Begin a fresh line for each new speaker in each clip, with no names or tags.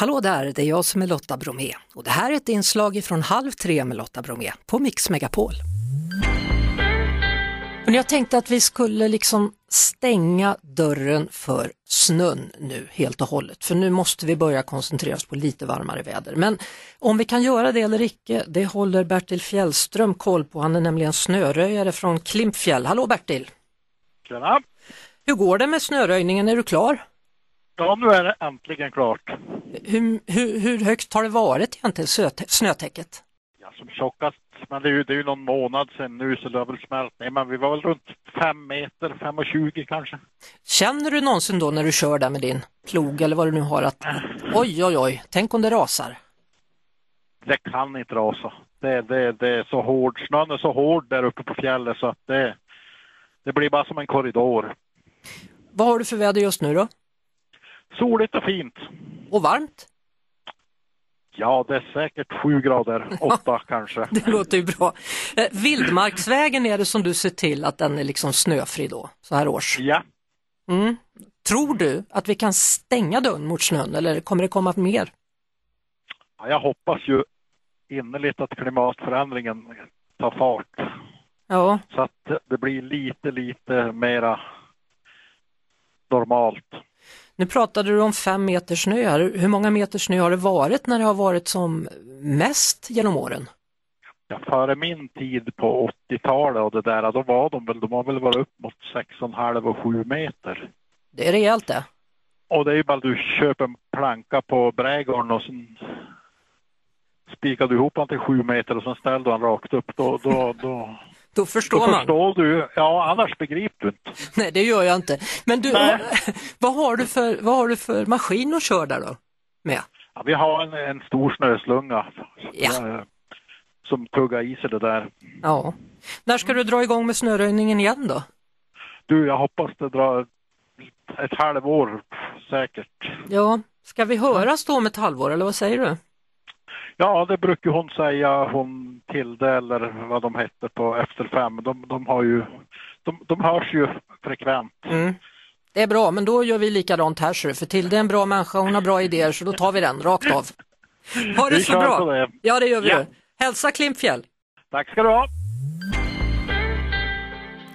Hallå där, det är jag som är Lotta Bromé och det här är ett inslag från Halv tre med Lotta Bromé på Mix Megapol. Men jag tänkte att vi skulle liksom stänga dörren för snön nu helt och hållet, för nu måste vi börja koncentrera oss på lite varmare väder. Men om vi kan göra det eller icke, det håller Bertil Fjällström koll på. Han är nämligen snöröjare från Klimpfjäll. Hallå Bertil!
Tjena!
Hur går det med snöröjningen? Är du klar?
Ja, nu är det äntligen klart.
Hur, hur, hur högt har det varit egentligen, söt- snötäcket?
Ja, som tjockast, men det är, ju, det är ju någon månad sedan nu så det har väl smält ner. Men vi var väl runt 5 meter, 5,20 kanske.
Känner du någonsin då när du kör där med din plog eller vad du nu har att oj, oj, oj, tänk om det rasar?
Det kan inte rasa. Det, det, det är så hård, snön är så hård där uppe på fjället så att det, det blir bara som en korridor.
Vad har du för väder just nu då?
Soligt och fint.
Och varmt?
Ja, det är säkert sju grader, åtta kanske.
Det låter ju bra. Eh, Vildmarksvägen är det som du ser till att den är liksom snöfri då, så här års.
Ja,
Mm. Tror du att vi kan stänga dörren mot snön eller kommer det komma mer?
Ja, jag hoppas ju innerligt att klimatförändringen tar fart
Ja,
så att det blir lite, lite mera normalt.
nu pratade du om fem meter snö här. Hur många meter snö har det varit när det har varit som mest genom åren?
Ja, före min tid på 80-talet och det där, då var de väl, de har väl varit upp mot 6,5 och 7 meter.
Det är rejält det.
Och det är ju bara du köper en planka på brädgården och sen spikar du ihop den till 7 meter och sen ställer du den rakt upp. Då, då, då,
Då
då
förstår man.
förstår du. Ja, annars begriper du inte.
Nej, det gör jag inte. Men du,
Nej.
vad har du för, vad har du för maskin att köra där då? Med?
Ja, vi har en, en stor snöslunga
Ja.
eh, som tuggar i sig det där.
Ja. När ska du dra igång med snöröjningen igen då?
Du, jag hoppas det drar ett halvår säkert.
Ja, ska vi höras då om ett halvår eller vad säger du?
Ja, det brukar hon säga, hon Tilde eller vad de hette på Efter fem. De, de har ju, de, de hörs ju frekvent.
Det är bra, men då gör vi likadant här ser du, för Tilde är en bra människa, hon har bra idéer så då tar vi den rakt av. Ha det
Vi
så
kör
bra!
på det.
Ja, det gör vi.
Ja.
du. Hälsa Klimpfjäll!
Tack ska du ha!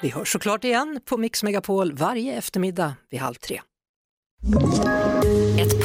Vi hörs såklart igen på Mix Megapol varje eftermiddag vid halv tre.
Ett